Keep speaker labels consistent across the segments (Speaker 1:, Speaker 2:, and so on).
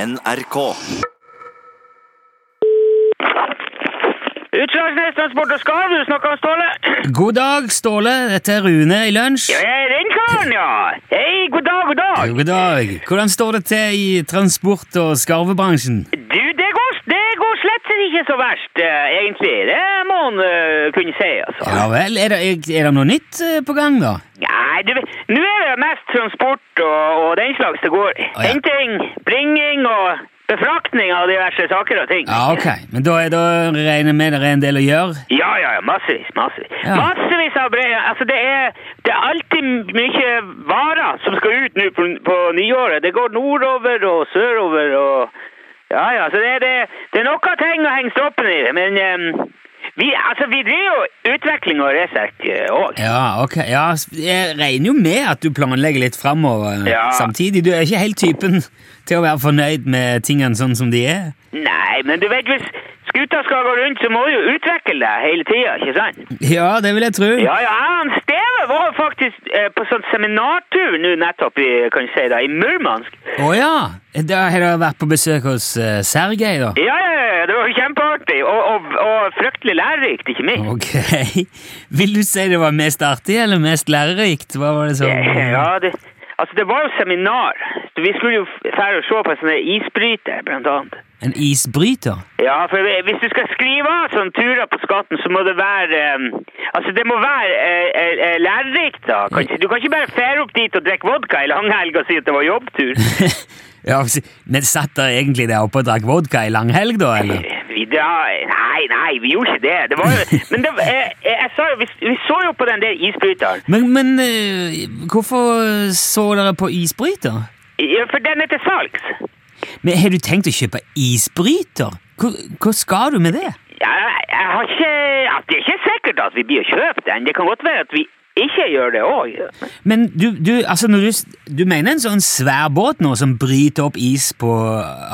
Speaker 1: NRK.
Speaker 2: Utslagsnes Transport og Skarv, du snakker om Ståle.
Speaker 3: God dag, Ståle. Dette er Rune i lunsj.
Speaker 2: Ja, jeg er den karen, ja. Hei, god dag, god dag.
Speaker 3: God dag. Hvordan står det til i transport- og skarvebransjen?
Speaker 2: Du, det går, det går slett ikke så verst, eh, egentlig. Det må man eh, kunne si, altså.
Speaker 3: Ja vel. Er det, er det noe nytt eh, på gang, da?
Speaker 2: Nei, du vet, nå er det mest transport og, og den slags det går. i.
Speaker 3: Å, ja.
Speaker 2: Henting, bringing og befraktning av diverse saker og ting.
Speaker 3: Ja, ok. Men da, er, da regner jeg med det er en del å gjøre?
Speaker 2: Ja, ja, ja, massevis, massevis.
Speaker 3: Ja.
Speaker 2: Massevis av brev. Altså, det er, det er alltid mye varer som skal ut nå på, på nyåret. Det går nordover og sørover og Ja, ja, så det, er- det, det er noe ting å henge stoppen i. Men em, vi, altså, vi driver jo utvikling og research eh, òg.
Speaker 3: Ja, ok. Ja, s- jeg regner jo med at du planlegger litt framover
Speaker 2: Ja.
Speaker 3: samtidig. Du er ikke helt typen til å være fornøyd med tingene sånn som de er?
Speaker 2: Nei, men du vet, hvis skuta skal gå rundt, så må du jo utvikle deg hele tida, ikke sant?
Speaker 3: Ja, det vil jeg tro.
Speaker 2: Ja, ja, jeg og han Steve var faktisk eh, på sånn seminartur nå nettopp i, kan du si da, i Murmansk.
Speaker 3: Å ja. Da har du vært på besøk hos uh, Sergej, da.
Speaker 2: Ja, ja, ja, det var kjempeartig, og, og, og fryktelig lærerikt, ikke minst.
Speaker 3: Ok. Vil du si det var mest artig eller mest lærerikt? Hva var det som
Speaker 2: Ja, det, altså det var jo seminar. Så Vi skulle jo fære og se på sånne isbryter, blant annet.
Speaker 3: En isbryter?
Speaker 2: Ja, for hvis du skal skrive av sånne turer på skatten, så må det være eh, Altså, det må være eh, eh, eh, lærerikt, da. Kan ikke- Du kan ikke bare fære opp dit og drikke vodka i langhelg og si at det var jobbtur.
Speaker 3: ja, s- men satt dere egentlig der oppe og drakk vodka i langhelg, da? eller?
Speaker 2: Vi drar Nei, nei, vi gjorde ikke det. det var jo, men det, jeg, jeg, jeg sa jo, vi, vi så jo på den der isbryteren.
Speaker 3: Men, men eh, hvorfor så dere på isbryter?
Speaker 2: Ja, For den er til salgs.
Speaker 3: Men Har du tenkt å kjøpe isbryter? Hva, hva skal du med det?
Speaker 2: Ja, jeg har ikke at Det er ikke sikkert at vi blir å kjøpe den. Det kan godt være at vi ikke gjør det òg.
Speaker 3: Men du, du, altså når du, s- du mener en sånn svær båt nå som bryter opp is på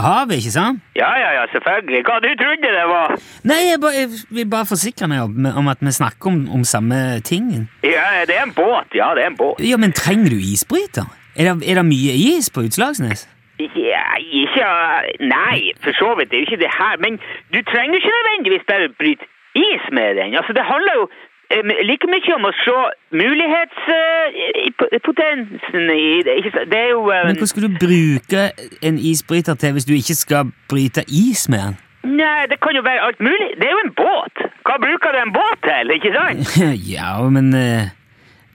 Speaker 3: havet, ikke sant?
Speaker 2: Ja, ja, ja, selvfølgelig. Hva du trodde det var?
Speaker 3: Nei, jeg, bare- jeg vil bare forsikre meg om, om at vi snakker om, om samme tingen.
Speaker 2: Ja, det er en båt. Ja, det er en båt.
Speaker 3: Ja, men trenger du isbryter? Er det, er det mye is på Utslagsnes?
Speaker 2: Ja, ikke Nei, for så vidt. Det er jo ikke det her. Men du trenger ikke nødvendigvis bare bryte is med den. Altså, det handler jo eh, like mye om å se eh, mulighetspotensen i det. Ikke sant? Det er jo eh,
Speaker 3: Men hva skal du bruke en isbryter til hvis du ikke skal bryte is med den?
Speaker 2: Nei, det kan jo være alt mulig. Det er jo en båt. Hva bruker du en båt til, ikke sant?
Speaker 3: ja, men eh,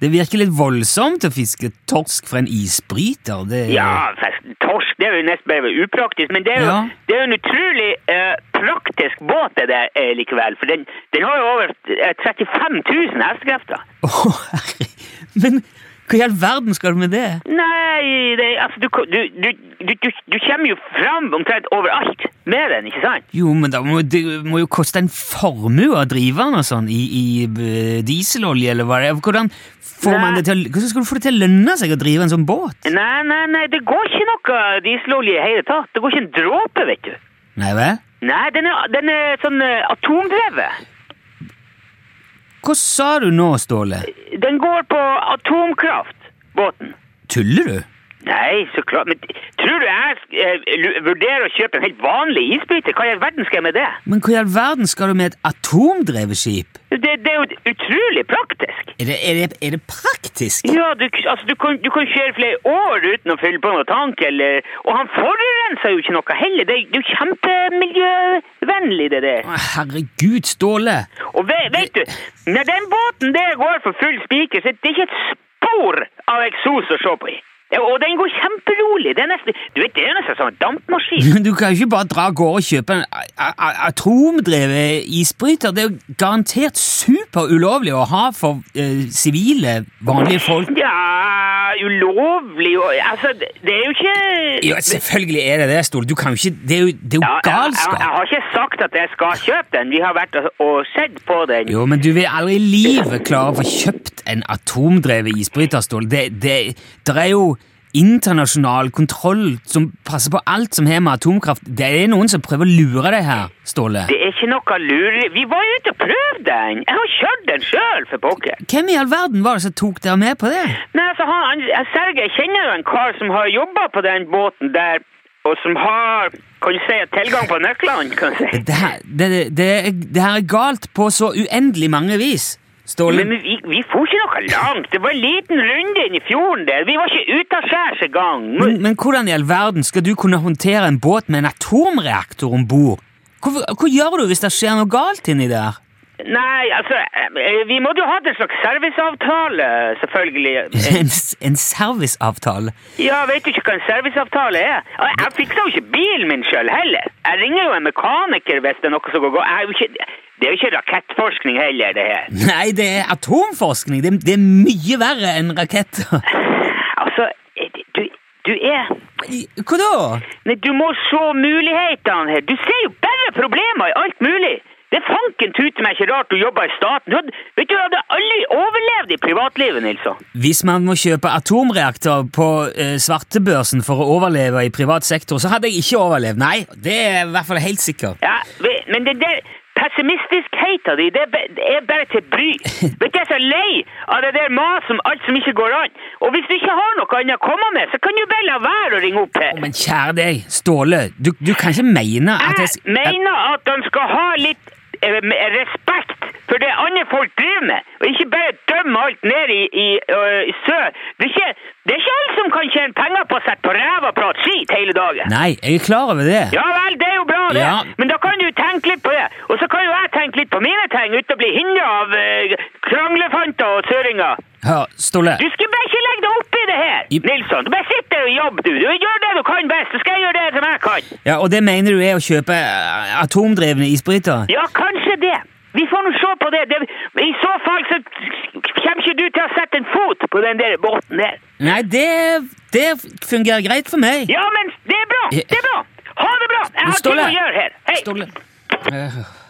Speaker 3: det virker litt voldsomt å fiske torsk fra en isbryter. Det,
Speaker 2: Ja, fest- torsk det er jo nesten bare upraktisk, men det er jo,
Speaker 3: Ja.
Speaker 2: det er jo en utrolig eh, praktisk båt det der er likevel. For den, den har jo over eh, 35 000 hestekrefter.
Speaker 3: Åh, herre. Men hva i all verden skal du med det?
Speaker 2: Nei, det, altså du, du, du, du, du, du kommer jo fram omtrent overalt med den, ikke sant?
Speaker 3: Jo, men da må, det må jo koste en formue å drive den og sånn i, i eh, dieselolje, eller hva det er. Hvordan, får man
Speaker 2: Nei.
Speaker 3: det til, å- hvordan skal du få det til å lønne seg å drive en sånn båt?
Speaker 2: Nei, nei, nei, det går ikke noe dieselolje i hele tatt. Det går ikke en dråpe, vet du.
Speaker 3: Nei vel?
Speaker 2: Nei, den er, den er sånn eh, atomdrevet.
Speaker 3: Hva sa du nå, Ståle?
Speaker 2: Den går på atomkraft, båten.
Speaker 3: Tuller du?
Speaker 2: Nei, så klart. Men tror du jeg eh, lu- vurderer å kjøpe en helt vanlig isbryter? Hva i all verden skal jeg med det?
Speaker 3: Men hva i all verden skal du med et atomdrevet skip?
Speaker 2: Det, det er jo utrolig praktisk.
Speaker 3: Er det, er det, er det praktisk?
Speaker 2: Ja, du, altså, du, kan, du kan kjøre flere år uten å fylle på noen tank, eller Og han forurenser jo ikke noe heller. Det, er- det er jo kjempemiljøvennlig, det der.
Speaker 3: Å, Herregud, Ståle!
Speaker 2: Og vet, vet du, når den båten der går for full spiker, så er det ikke et spor av eksos å se på i. Ja, Og den går kjemperolig. Det er nesten, du vet, det er nesten som en dampmaskin.
Speaker 3: Men Du kan jo ikke bare dra av gårde og kjøpe en a- a- atomdrevet isbryter. Det er jo garantert superulovlig å ha for eh, sivile, vanlige folk.
Speaker 2: Ja, ulovlig og Altså, det det er jo ikke
Speaker 3: Ja, selvfølgelig er det det, Ståle. Du kan jo ikke Det er jo, det
Speaker 2: Ja, Jeg,
Speaker 3: er jo
Speaker 2: jeg, jeg
Speaker 3: galskap.
Speaker 2: har ikke sagt at jeg skal kjøpe den. Vi har vært og, og sett på den.
Speaker 3: Jo, men du vil aldri i livet klare å få kjøpt en atomdrevet isbryter, Ståle. Det, det, der er jo internasjonal kontroll som passer på alt som har med atomkraft Det er noen som prøver å lure deg her, Ståle.
Speaker 2: Det er ikke noe lureri. Vi var jo ute og prøvde den! Jeg har kjørt den sjøl, for pokker.
Speaker 3: Hvem i all verden var det som tok dere med på det?
Speaker 2: Nei, altså, han, han, Sergej kjenner jo en kar som har jobba på den båten der og som har kan du si, tilgang på nøklene. kan du si.
Speaker 3: Det her, det, det, det, det her er galt på så uendelig mange vis, Ståle.
Speaker 2: Men vi, vi for ikke noe langt. Det var en liten runde inn i fjorden der. Vi var ikke ute av skjærs engang. Nå-
Speaker 3: Men, men hvordan i all verden skal du kunne håndtere en båt med en atomreaktor om bord? Hva, hva gjør du hvis det skjer noe galt inni der?
Speaker 2: Nei, altså eh, Vi måtte jo ha en slags serviceavtale, selvfølgelig.
Speaker 3: En, s- en serviceavtale?
Speaker 2: Ja, vet du ikke hva en serviceavtale er? Og Jeg fiksa jo ikke bilen min sjøl heller. Jeg ringer jo en mekaniker hvis det er noe som går galt. Jeg er jo ikke- Det er jo ikke rakettforskning heller, det her.
Speaker 3: Nei, det er atomforskning. Det, det er mye verre enn raketter.
Speaker 2: Altså, eh, du, du er
Speaker 3: I- Hva da?
Speaker 2: Nei, du må se mulighetene her. Du ser jo bare problemer i alt mulig. Det er fanken tute meg ikke rart du jobber i staten. Du hadde, vet du, du hadde aldri overlevd i privatlivet, Nilsson.
Speaker 3: Hvis man må kjøpe atomreaktor på eh, svartebørsen for å overleve i privat sektor, så hadde jeg ikke overlevd. Nei, det er jeg i hvert fall helt sikkert.
Speaker 2: Ja, vi- men det der pessimistiskheten din, altså. det er ba- det er bare til bry. Vet du, jeg er så lei av det der maset om alt som ikke går an. Og hvis du ikke har noe annet å komme med, så kan du bare la være å ringe opp her.
Speaker 3: Men kjære deg, Ståle, du, du kan ikke mene at jeg
Speaker 2: Jeg
Speaker 3: sk- at-
Speaker 2: mener at de skal ha litt eh, m- respekt for det andre folk driver med, og ikke bare dømme alt ned i, i, ø, i sø. Det er, ikke, det er ikke alle som kan tjene penger på å sette på ræva og prate skit hele dagen.
Speaker 3: Nei, jeg er klar over det.
Speaker 2: Ja vel, det er jo bra, det.
Speaker 3: Ja.
Speaker 2: Men da kan du tenke litt på det. Og så kan jo jeg tenke litt på mine ting uten å bli hindra av eh, kranglefanter og søringer.
Speaker 3: Hør, Ståle.
Speaker 2: Du skulle bare ikke legge deg opp i det her,
Speaker 3: I-
Speaker 2: Nilsson. Du bare sitter og jobber, du. Du Gjør det du kan best, så skal jeg gjøre det som jeg kan.
Speaker 3: Ja, Og det mener du er å kjøpe eh, atomdrevne isbrytere?
Speaker 2: Ja, kanskje det. Vi får nå se på det. det. I så fall så kommer ikke du til å sette en fot på den der båten der.
Speaker 3: Nei, det, det fungerer greit for meg.
Speaker 2: Ja, men det er bra! Det er bra! Ha det bra! Jeg
Speaker 3: Men
Speaker 2: har ting
Speaker 3: Ståle-
Speaker 2: å gjøre her. Hei!
Speaker 3: Ståle. Eh,